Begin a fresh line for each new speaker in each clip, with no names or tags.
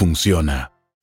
funciona.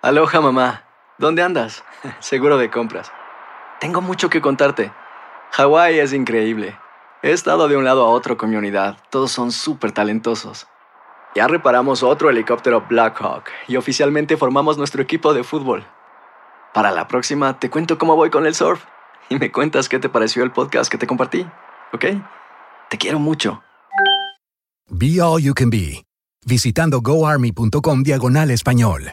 Aloha mamá, ¿dónde andas? Seguro de compras. Tengo mucho que contarte. Hawái es increíble. He estado de un lado a otro con mi unidad. Todos son súper talentosos. Ya reparamos otro helicóptero Blackhawk y oficialmente formamos nuestro equipo de fútbol. Para la próxima te cuento cómo voy con el surf y me cuentas qué te pareció el podcast que te compartí, ¿ok? Te quiero mucho.
Be All You Can Be. Visitando goarmy.com diagonal español.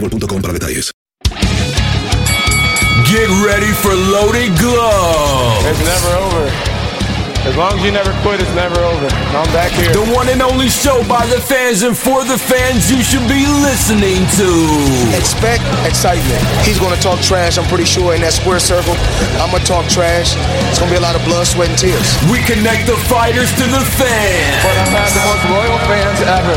para detalles.
Get ready for Loaded Gloves.
It's never over. As long as you never quit, it's never over. I'm back here.
The one and only show by the fans and for the fans you should be listening to.
Expect excitement. He's going to talk trash, I'm pretty sure, in that square circle. I'm going to talk trash. It's going to be a lot of blood, sweat, and tears.
We connect the fighters to the fans.
But I've had the most loyal fans ever.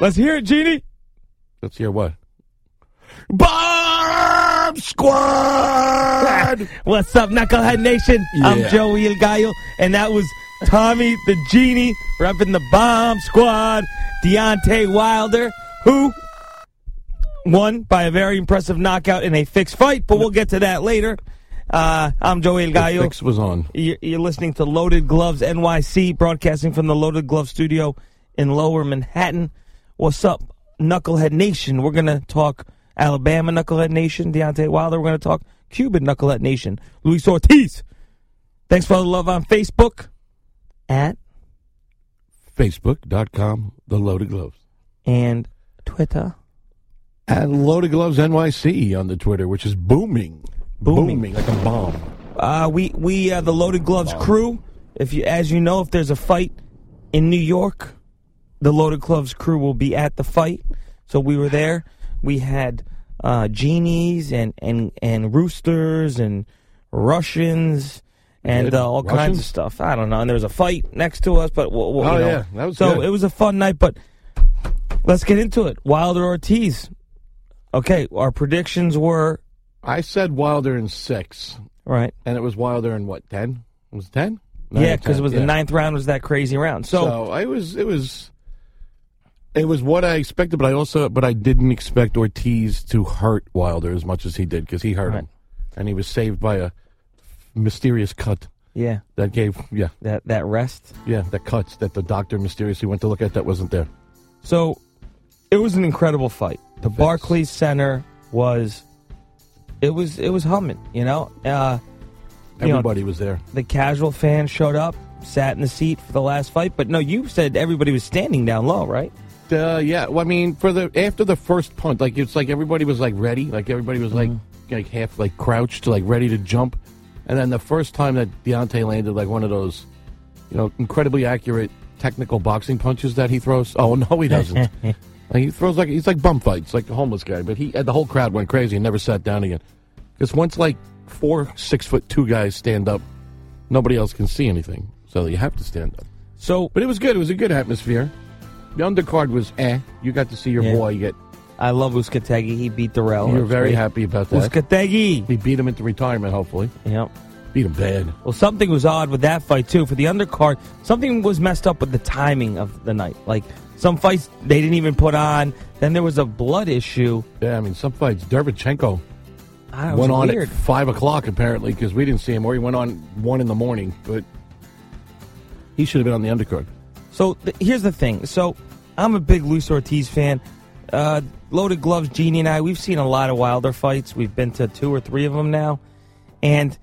Let's hear it, Genie.
Let's hear what.
Bomb Squad! What's up, Knucklehead Nation? I'm
Yeah.
Joey El Gallo, and that was Tommy the Genie repping the Bomb Squad. Deontay Wilder, who won by a very impressive knockout in a fixed fight, but we'll get to that later. Uh, I'm Joey El Gallo.
Fix was on.
You're, you're listening to Loaded Gloves NYC, broadcasting from the Loaded Glove Studio in Lower Manhattan. What's up, Knucklehead Nation? We're gonna talk Alabama Knucklehead Nation, Deontay Wilder. We're gonna talk Cuban Knucklehead Nation, Luis Ortiz. Thanks for all the love on Facebook at
Facebook.com, The Loaded Gloves.
and Twitter.
At Loaded Gloves NYC on the Twitter, which is booming.
Booming.
like a bomb.
Uh, we we uh, the Loaded Gloves crew. If you, as you know, if there's a fight in New York, the Loaded Gloves crew will be at the fight. So we were there. We had uh, genies and and and roosters and Russians and
Good.
uh, all kinds of
Russians?
stuff. I don't know. And there was a fight next to us, but we'll, we'll-
Oh,
you know.
yeah. That was
so
good.
it was a fun night. But let's get into it. Wilder Ortiz. Okay, our predictions were
I said Wilder in six,
right.
and it was Wilder in what, 10? It was 10?
Yeah, because it was the ninth round was that crazy round. So,
So I was, it was. It was what I expected, but I also, but I didn't expect Ortiz to hurt Wilder as much as he did because he hurt
Right.
him, and he was saved by a mysterious cut
yeah,
that gave, yeah,
that that rest.
yeah, the cuts that the doctor mysteriously went to look at that wasn't there.
So it was an incredible fight. The Barclays Center was it was it was humming, you know. Uh You know,
Everybody was there.
the casual fans showed up, sat in the seat for the last fight, but no, you said everybody was standing down low, right?
uh, yeah, well, I mean, for the after the first punt, like it's like everybody was like ready, like everybody was like like half like crouched, like ready to jump, and then the first time that Deontay landed like one of those, you know, incredibly accurate technical boxing punches that he throws. Oh no, he doesn't. like, he throws like he's like bum fights, like the homeless guy. But he the whole crowd went crazy and never sat down again, because once like four six foot two guys stand up, nobody else can see anything, so you have to stand up.
So,
but it was good. It was a good atmosphere. The undercard was eh. You got to see your
Yeah.
boy get.
I love Uskategi. He beat Durrell.
You were very
Right.
happy about that.
Uskategi.
He beat him into retirement, hopefully.
Yep.
Beat him bad.
Well, something was odd with that fight too. For the undercard, something was messed up with the timing of the night. Like some fights they didn't even put on. Then there was a blood issue.
Yeah, I mean some fights. Dervichenko
I
went on
weird.
at five o'clock apparently because we didn't see him, or he went on one in the morning. But he should have been on the undercard.
So th- here's the thing. So I'm a big Luis Ortiz fan. Uh, Loaded Gloves, Genie, and I, we've seen a lot of Wilder fights. We've been to two or three of them now. And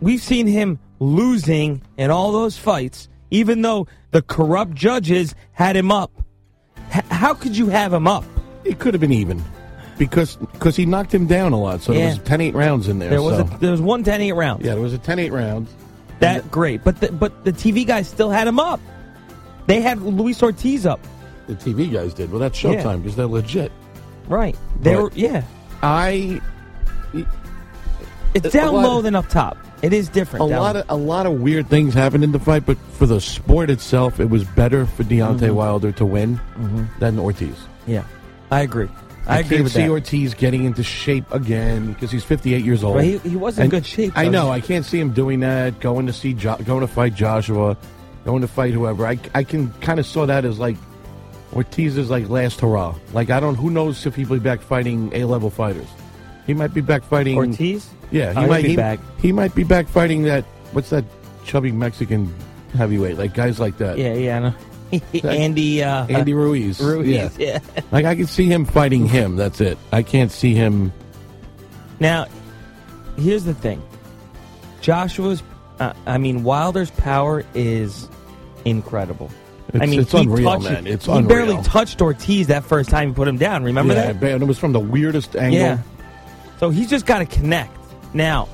we've seen him losing in all those fights, even though the corrupt judges had him up. H- how could you have him up?
It could have been even because because he knocked him down a lot. So
Yeah.
there was 10-8 rounds in there.
There was,
so.
a, there was one 10 8 round.
Yeah, there was a 10 8 round.
That great. But the, but the TV guys still had him up. They had Luis Ortiz up.
the TV guys did. Well, that's
Yeah.
Showtime because they're legit.
Right. They
But
were, yeah.
I.
It's
a
down
lot
low
of-
than up top. It is different.
a
down
lot of a lot of weird things happened in the fight, but for the sport itself, it was better for Deontay
Mhm.
Wilder to win
Mhm.
than Ortiz.
Yeah, I agree. I, agree
can't
with
see
that.
Ortiz getting into shape again because he's 58 years old.
But he- he was in
And
good shape,
I
though.
know. I can't see him doing that. Going to see jo- going to fight Joshua, going to fight whoever. I, I can kind of saw that as like Ortiz's like last hurrah. Like I don't. Who knows if he'll be back fighting A level fighters? He might be back fighting
Ortiz?
Yeah,
Oh,
he
he'll
might
be
he,
back.
he might be back fighting that. What's that chubby Mexican heavyweight? Like guys like that.
yeah, yeah, I know. Andy, uh,
Andy Ruiz.
Ruiz,
Yeah.
yeah.
Like I can see him fighting him. That's it. I can't see him.
Now, here's the thing. Joshua's, uh, I mean, Wilder's power is incredible. I
It's-
mean,
it's
he
unreal,
touched,
man. It's
he
unreal.
barely touched Ortiz that first time he put him down. Remember
yeah,
that?
but It was from the weirdest angle.
Yeah. So he's just got to connect. Now,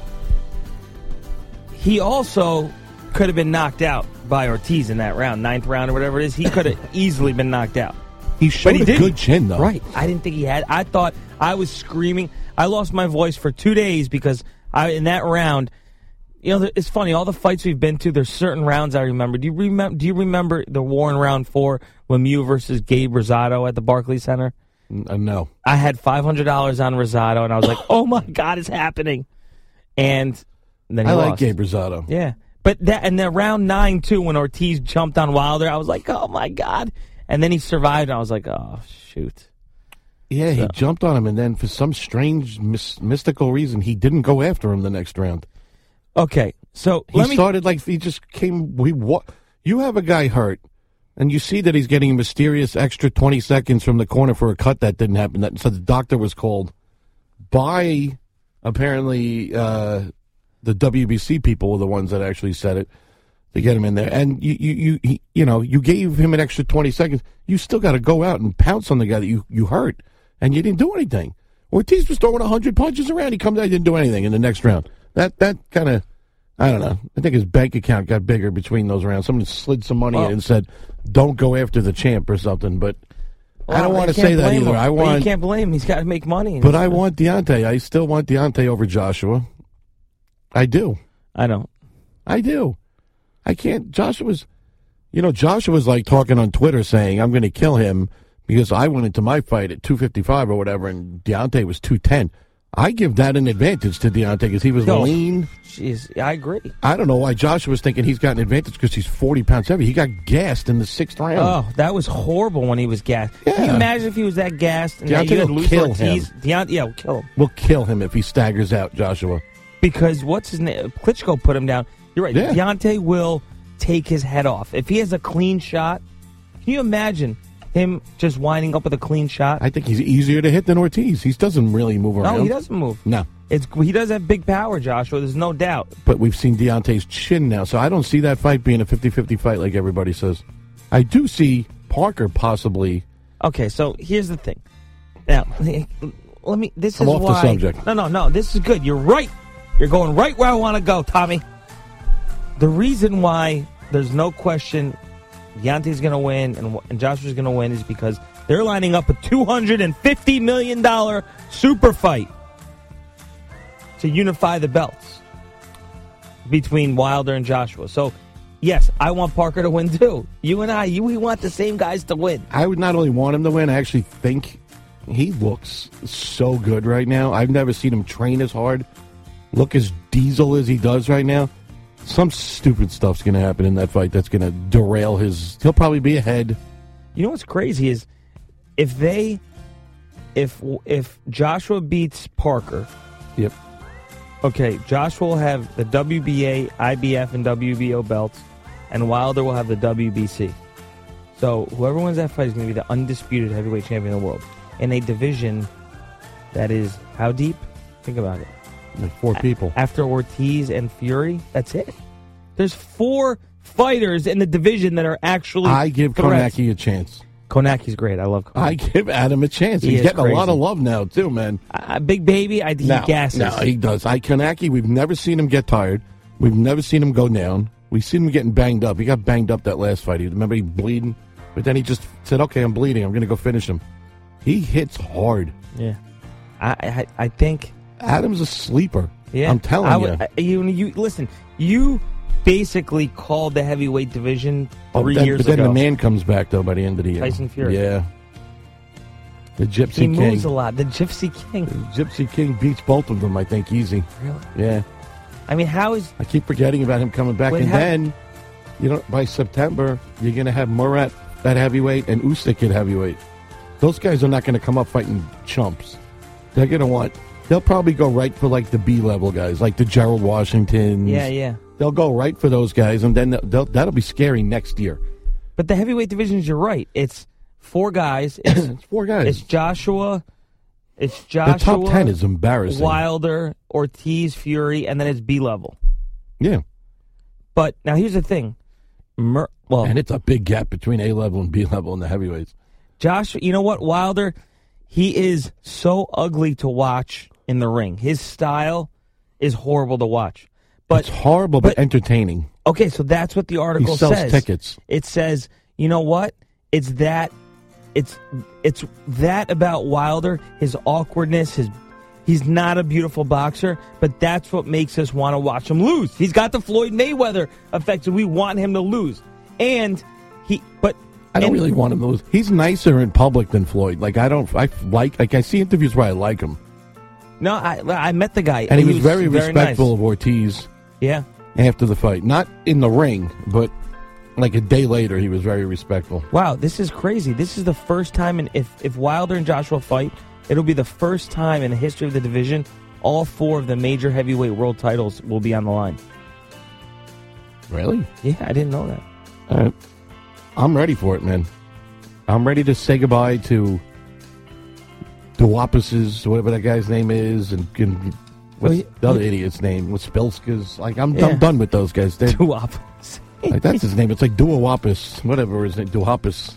he also could have been knocked out by Ortiz in that round, ninth round or whatever it is. He could have easily been knocked out.
He showed
he
a
didn't.
good chin though.
Right. I didn't think he had. I thought I was screaming. I lost my voice for two days because I in that round. You know, it's funny. All the fights we've been to, there's certain rounds I remember. Do you remember? Do you remember the war in round four, Lemieux versus Gabe Rosado at the Barclays Center?
Uh, no.
I had five hundred dollars on Rosado, and I was like, "Oh my god, it's happening!" And then he
I like
lost.
Gabe Rosado.
Yeah, but that and then round nine too, when Ortiz jumped on Wilder, I was like, "Oh my god!" And then he survived, and I was like, "Oh shoot!"
Yeah, he jumped on him, and then for some strange mis- mystical reason, he didn't go after him the next round.
Okay, so
He
let me.
started like he just came. We wa- You have a guy hurt, and you see that he's getting a mysterious extra twenty seconds from the corner for a cut that didn't happen. That so the doctor was called by apparently uh, the WBC people were the ones that actually said it to get him in there. And you you you he, you know you gave him an extra twenty seconds. You still got to go out and pounce on the guy that you you hurt, and you didn't do anything. Ortiz was throwing hundred punches around. He comes out, he didn't do anything in the next round. That that kind of. I don't know. I think his bank account got bigger between those rounds. Someone slid some money
Well-
in and said, "Don't go after the champ" or something. But I
Well,
don't
you
want to
can't
say that
blame
either.
him,
I
but
want
You can't blame him. He's got to make money.
but I want Deontay. I still want Deontay over Joshua. I do.
I don't.
I do. I can't. Joshua's, you know, Joshua's like talking on Twitter saying, I'm going to kill him because I went into my fight at 255 or whatever, and Deontay was 210. I give that an advantage to Deontay because he was
No.
lean.
Jeez, I agree.
I don't know why Joshua's thinking he's got an advantage because he's 40 pounds heavy. He got gassed in the sixth round.
Oh, that was horrible when he was gassed. Can you
Yeah.
imagine if he was that gassed and
Deontay
that you had
will
Luis
kill
Ortiz?
him.
Deont- yeah, will kill him.
We'll kill him if he staggers out, Joshua.
because what's his name? Klitschko put him down. You're right.
Yeah.
Deontay will take his head off if he has a clean shot. Can you imagine him just winding up with a clean shot?
I think he's easier to hit than Ortiz. He doesn't really move around.
no, he doesn't move.
No.
It's he does have big power, Joshua. There's no doubt.
but we've seen Deontay's chin now, so I don't see that fight being a 50-50 fight like everybody says. I do see Parker possibly
Okay, so here's the thing. Now, let me. This
I'm
is
off the
why.
subject.
No, no, no. This is good. You're right. You're going right where I want to go, Tommy. The reason why there's no question Yante's going to win and, and Joshua's going to win is because they're lining up a 250 million dollar super fight to unify the belts between Wilder and Joshua. So, yes, I want Parker to win too. You and I, you we want the same guys to win.
I would not only want him to win, I actually think he looks so good right now. I've never seen him train as hard, look as diesel as he does right now. Some stupid stuff's going to happen in that fight that's going to derail his. He'll probably be ahead.
You know what's crazy is if they if if Joshua beats Parker,
yep.
Okay, Joshua will have the WBA, IBF, and WBO belts, and Wilder will have the WBC. So whoever wins that fight is going to be the undisputed heavyweight champion of the world in a division that is how deep? Think about it.
Like four people.
After Ortiz and Fury, that's it. There's four fighters in the division that are actually.
I give
threats.
Konaki a chance.
Konaki's great. I love Konaki.
I give Adam a chance.
He
He's
is
getting
crazy.
a lot of love now, too, man.
Uh, Big Baby, I, he
no,
gasses.
No, he does. I Kanaki, we've never seen him get tired. We've never seen him go down. We've seen him getting banged up. He got banged up that last fight. He remember he bleeding, but then he just said, "Okay, I'm bleeding. I'm going to go finish him." He hits hard.
Yeah, I I, I think
Adam's a sleeper.
Yeah,
I'm telling
I
you.
would- I- you. You listen. You basically called the heavyweight division
Oh,
three
then,
years
but then
ago.
the man comes back though by the end of the year.
Tyson Fury.
Yeah, the Gypsy
he
King.
moves a lot. The Gypsy King.
Gypsy King beats both of them, I think, easy.
Really?
Yeah.
I mean, how is
I keep forgetting about him coming back,
Wait,
and
how-
then you know by September you're going to have Murat at heavyweight and Usyk at heavyweight. Those guys are not going to come up fighting chumps. They're going to want. They'll probably go right for like the B level guys, like the Gerald Washingtons.
Yeah, yeah.
They'll go right for those guys, and then they'll, they'll, that'll be scary next year.
But the heavyweight divisions, you're right. It's four guys. It's,
four guys.
It's Joshua. It's Joshua.
top 10 is embarrassing.
Wilder, Ortiz, Fury, and then it's B level.
Yeah,
But now here's the thing. Mer- well,
and it's a big gap between A level and B level in the heavyweights.
Josh, you know what? Wilder, he is so ugly to watch in the ring. His style is horrible to watch. But
it's horrible, but, entertaining.
okay, so that's what the article
sells
says.
tickets.
It says, you know what? It's that it's it's that about Wilder, his awkwardness, his he's not a beautiful boxer, but that's what makes us want to watch him lose. He's got the Floyd Mayweather effect, so we want him to lose. And he but
I don't
and-
really want him to lose. He's nicer in public than Floyd. Like I don't. I like. Like I see interviews where I like him,
No, I I met the guy,
and he was very,
nice.
respectful of Ortiz
Yeah,
after the fight. Not in the ring, but like a day later, he was very respectful.
wow, this is crazy. This is the first time, in if if Wilder and Joshua fight, it'll be the first time in the history of the division all four of the major heavyweight world titles will be on the line.
Really?
Yeah, I didn't know that.
All right. Uh, I'm ready for it, man. I'm ready to say goodbye to Duapis's, whatever that guy's name is, and, and what's
Well, he-
the other
he-
idiot's name? What's Spilska's? Like I'm,
Yeah.
I'm done with those guys. They're,
Two opposites.
Like, that's his name. It's like Duawapis, whatever his name, Duhapis.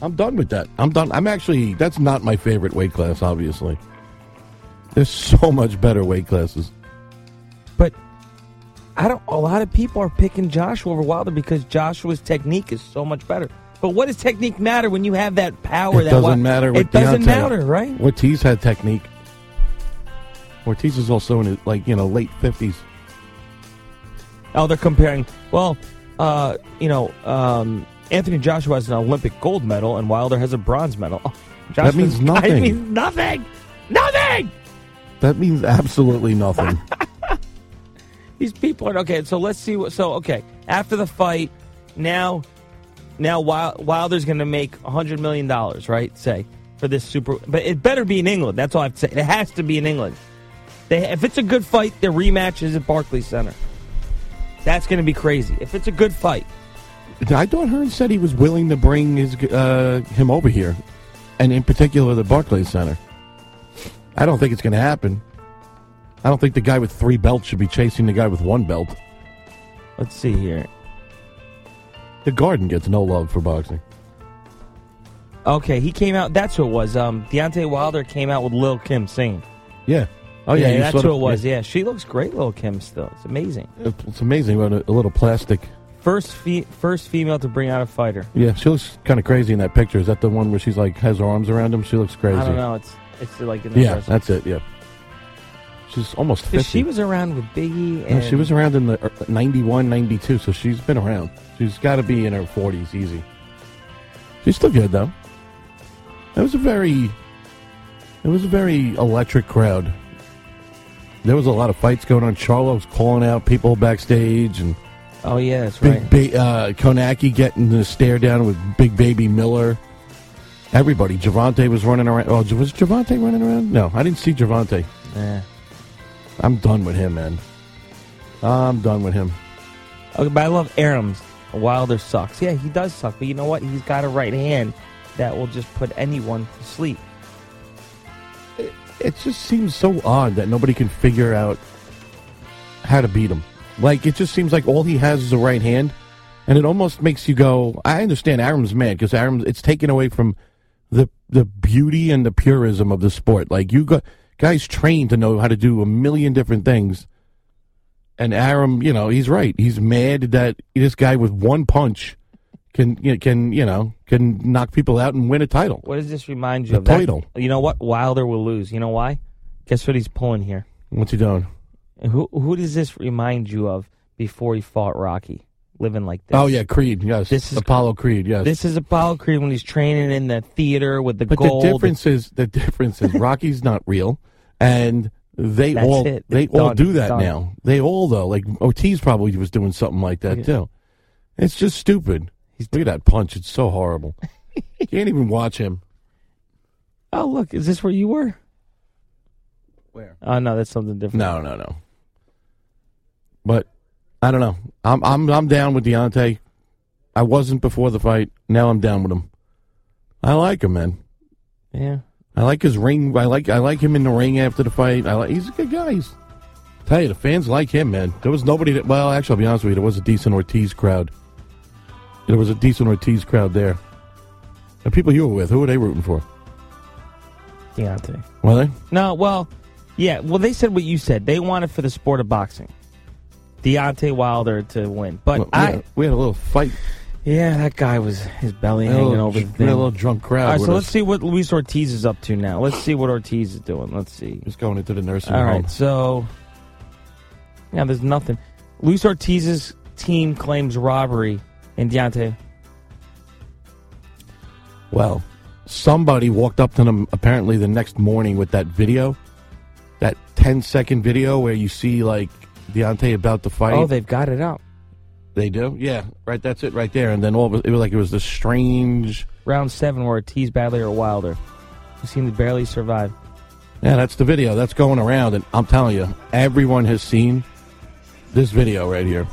I'm done with that. I'm done. I'm actually, that's not my favorite weight class, obviously. There's so much better weight classes.
But I don't. A lot of people are picking Joshua over Wilder because Joshua's technique is so much better. But what does technique matter when you have that
It
power? Oh, that
doesn't
Wil-
matter with
It doesn't
Deontay.
matter, right?
Ortiz had technique. Ortiz is also in his, like, you know, late 50s.
Oh, they're comparing. Well, uh, you know, um, Anthony Joshua has an Olympic gold medal, and Wilder has a bronze medal. Oh, Joshua's-
means nothing.
It means nothing. Nothing.
That means absolutely nothing.
These people are okay. So let's see what. So okay, after the fight, now, now Wil- Wilder's going to make hundred million dollars, right? Say for this super, but it better be in England. That's all I have to say. It has to be in England. They, if it's a good fight, the rematch is at Barclays Center. That's going to be crazy. If it's a good fight.
I thought Hearn said he was willing to bring his uh, him over here, and in particular the Barclays Center. I don't think it's going to happen. I don't think the guy with three belts should be chasing the guy with one belt.
Let's see here.
The Garden gets no love for boxing.
Okay, he came out. That's who it was. Um, Deontay Wilder came out with Lil Kim singing.
Yeah.
Oh yeah,
you
that's
sort
who
of-
it was. Yeah, she looks great, Lil Kim. Still, it's amazing.
It's it's amazing about a, a little plastic.
First, fe- first female to bring out a fighter.
Yeah, she looks kind of crazy in that picture. Is that the one where she's like has her arms around him? She looks crazy.
I don't know. It's it's like an
Yeah, that's it. Yeah, she's almost fifty.
She was around with Biggie.
No,
And
she was around in the er, 91, 92, so she's been around. She's got to be in her 40s, easy. She's still good, though. That was a very, it was a very electric crowd. There was a lot of fights going on. Charlo was calling out people backstage, and
Oh yeah, that's right.
Big ba- uh, Konaki getting the stare down with Big Baby Miller. Everybody, Javante was running around. Oh, was Javante running around? No, I didn't see Javante.
Yeah.
I'm done with him, man. I'm done with him.
Okay, but I love Arams. Wilder sucks. Yeah, he does suck. But you know what? He's got a right hand that will just put anyone to sleep.
It just seems so odd that nobody can figure out how to beat him. Like it just seems like all he has is a right hand, and it almost makes you go. I understand Aram's mad because Aram it's taken away from the the beauty and the purism of the sport. Like you got guys trained to know how to do a million different things, and Aram, you know, he's right. He's mad that this guy with one punch can you know, can you know can knock people out and win a title.
What does this remind you
The
of? That-
title.
you know what? Wilder will lose. You know why? Guess what he's pulling here.
What's he doing?
And Who who does this remind you of before he fought Rocky? Living like this.
Oh yeah, Creed. Yes, this is Apollo Creed. Yes,
This is Apollo Creed when he's training in the theater with the
But
gold.
the difference is the difference is Rocky's not real, and they
That's
all
it.
they
It's
all
done.
do
It's
that
done.
now. They all though, like Ortiz probably was doing something like that too. It's just stupid. Look at that punch; it's so horrible. Can't even watch him.
Oh look, is this where you were?
Where?
Oh no, that's something different.
No, no, no. But I don't know. I'm I'm I'm down with Deontay. I wasn't before the fight. Now I'm down with him. I like him, man.
Yeah.
I like his ring. I like I like him in the ring after the fight. I like he's a good guy. He's, tell you the fans like him, man. There was nobody that. Well, actually, I'll be honest with you. There was a decent Ortiz crowd. There was a decent Ortiz crowd there. The people you were with, who were they rooting for?
Deontay.
Were they?
No, well, yeah. Well, they said what you said. They wanted for the sport of boxing, Deontay Wilder to win. But
Well, we
I,
had- we had a little fight.
Yeah, that guy was his belly
We had a
hanging
little-
over the
we had
thing.
a little drunk crowd
All right,
with
so
us.
let's see what Luis Ortiz is up to now. Let's see what Ortiz is doing. Let's see.
He's going into the nursing
All
home.
right, so yeah, there's nothing. Luis Ortiz's team claims robbery in Deontay.
Well, somebody walked up to them apparently the next morning with that video, that 10 second video where you see like Deontay about to fight.
Oh, they've got it out.
They do? Yeah, right. That's it right there. And then all of it it was like it was this strange.
Round seven, where Ortiz, Badley, or Wilder, who seemed to barely survive.
Yeah, that's the video that's going around. And I'm telling you, everyone has seen this video right here.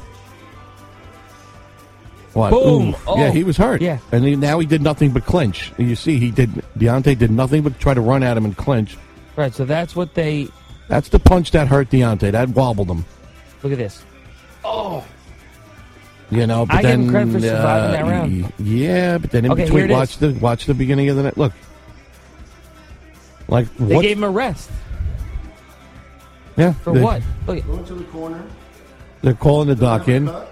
What?
Boom!
Oof.
Oh.
Yeah, he was hurt.
Yeah.
And he, now he did nothing but clinch. And you see, he did. Deontay did nothing but try to run at him and clinch.
Right, so that's what they
That's the punch that hurt Deontay. That wobbled him.
look at this. Oh,
You know, but
I give
then
him credit for surviving that
uh,
round.
y- Yeah, but then in
Okay, here
between,
it is.
watch the watch the beginning of the night. Look, like
they
what?
gave him a rest
yeah,
for
they-
what? Look at-
Go into the corner.
They're calling the doc in.
Cut.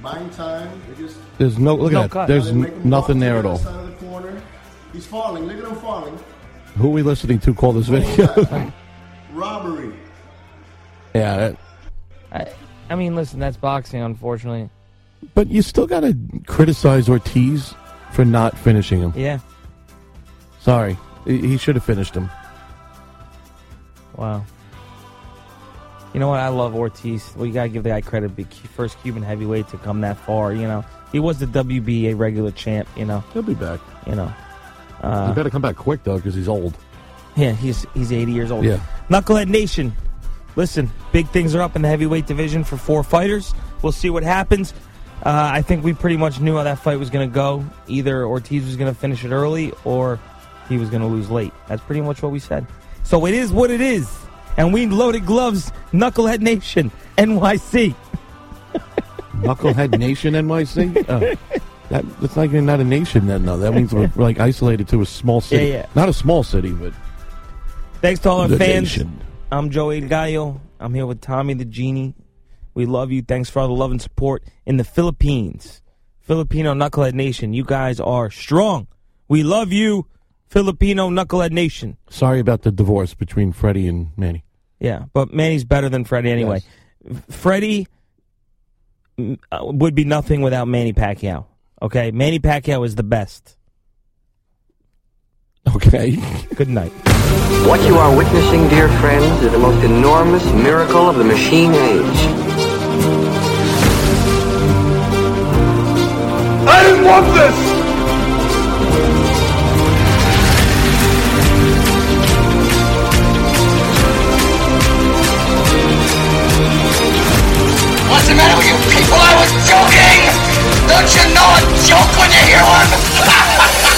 Buying time. They just
There's no look at
No
that.
cut.
There's
They
n-
make him walk
nothing
to the
there at
other
all.
Side of the corner. He's falling. Look at him falling.
Who are we listening to call this video?
Robbery.
yeah, that,
I, I mean, listen, that's boxing, unfortunately.
but you still got to criticize Ortiz for not finishing him.
Yeah.
Sorry, he he should have finished him.
Wow. You know what? I love Ortiz. Well, you gotta give the guy credit. Be cu- first Cuban heavyweight to come that far. You know, he was the WBA regular champ. You know,
he'll be back.
You know,
he
uh,
better come back quick though, because he's old.
yeah, he's he's 80 years old.
Yeah.
Knucklehead Nation, listen, big things are up in the heavyweight division for four fighters. We'll see what happens. Uh, I think we pretty much knew how that fight was going to go. Either Ortiz was going to finish it early or he was going to lose late. That's pretty much what we said. So it is what it is. And we loaded gloves, Knucklehead Nation, NYC.
Knucklehead Nation NYC. Oh. That, that's like you're not a nation then, though. That means we're, we're, like isolated to a small city.
Yeah, yeah.
Not a small city, but
Thanks to all our
The
fans.
nation.
I'm Joe El Gallo. I'm here with Tommy the Genie. We love you. Thanks for all the love and support in the Philippines. Filipino Knucklehead Nation, you guys are strong. We love you, Filipino Knucklehead Nation.
sorry about the divorce between Freddie and Manny.
Yeah, but Manny's better than Freddie anyway. Freddie mm, uh, would be nothing without Manny Pacquiao. Okay, Manny Pacquiao is the best.
Okay.
Good night.
What you are witnessing, dear friends, is the most enormous miracle of the machine age.
I didn't want this!
What's the matter with you people? I was joking! Don't you know a joke when you hear one?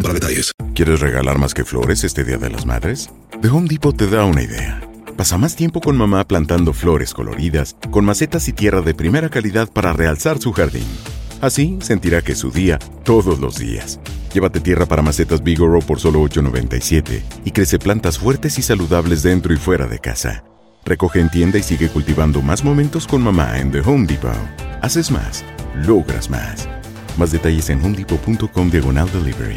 para detalles.
¿Quieres regalar más que flores este Día de las Madres? The Home Depot te da una idea. Pasa más tiempo con mamá plantando flores coloridas, con macetas y tierra de primera calidad para realzar su jardín. Así sentirá que es su día todos los días. Llévate tierra para macetas Bigoro por solo $8.97 y crece plantas fuertes y saludables dentro y fuera de casa. Recoge en tienda y sigue cultivando más momentos con mamá en The Home Depot. Haces más, logras más. Más detalles en homedepot.com diagonal delivery.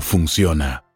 funciona.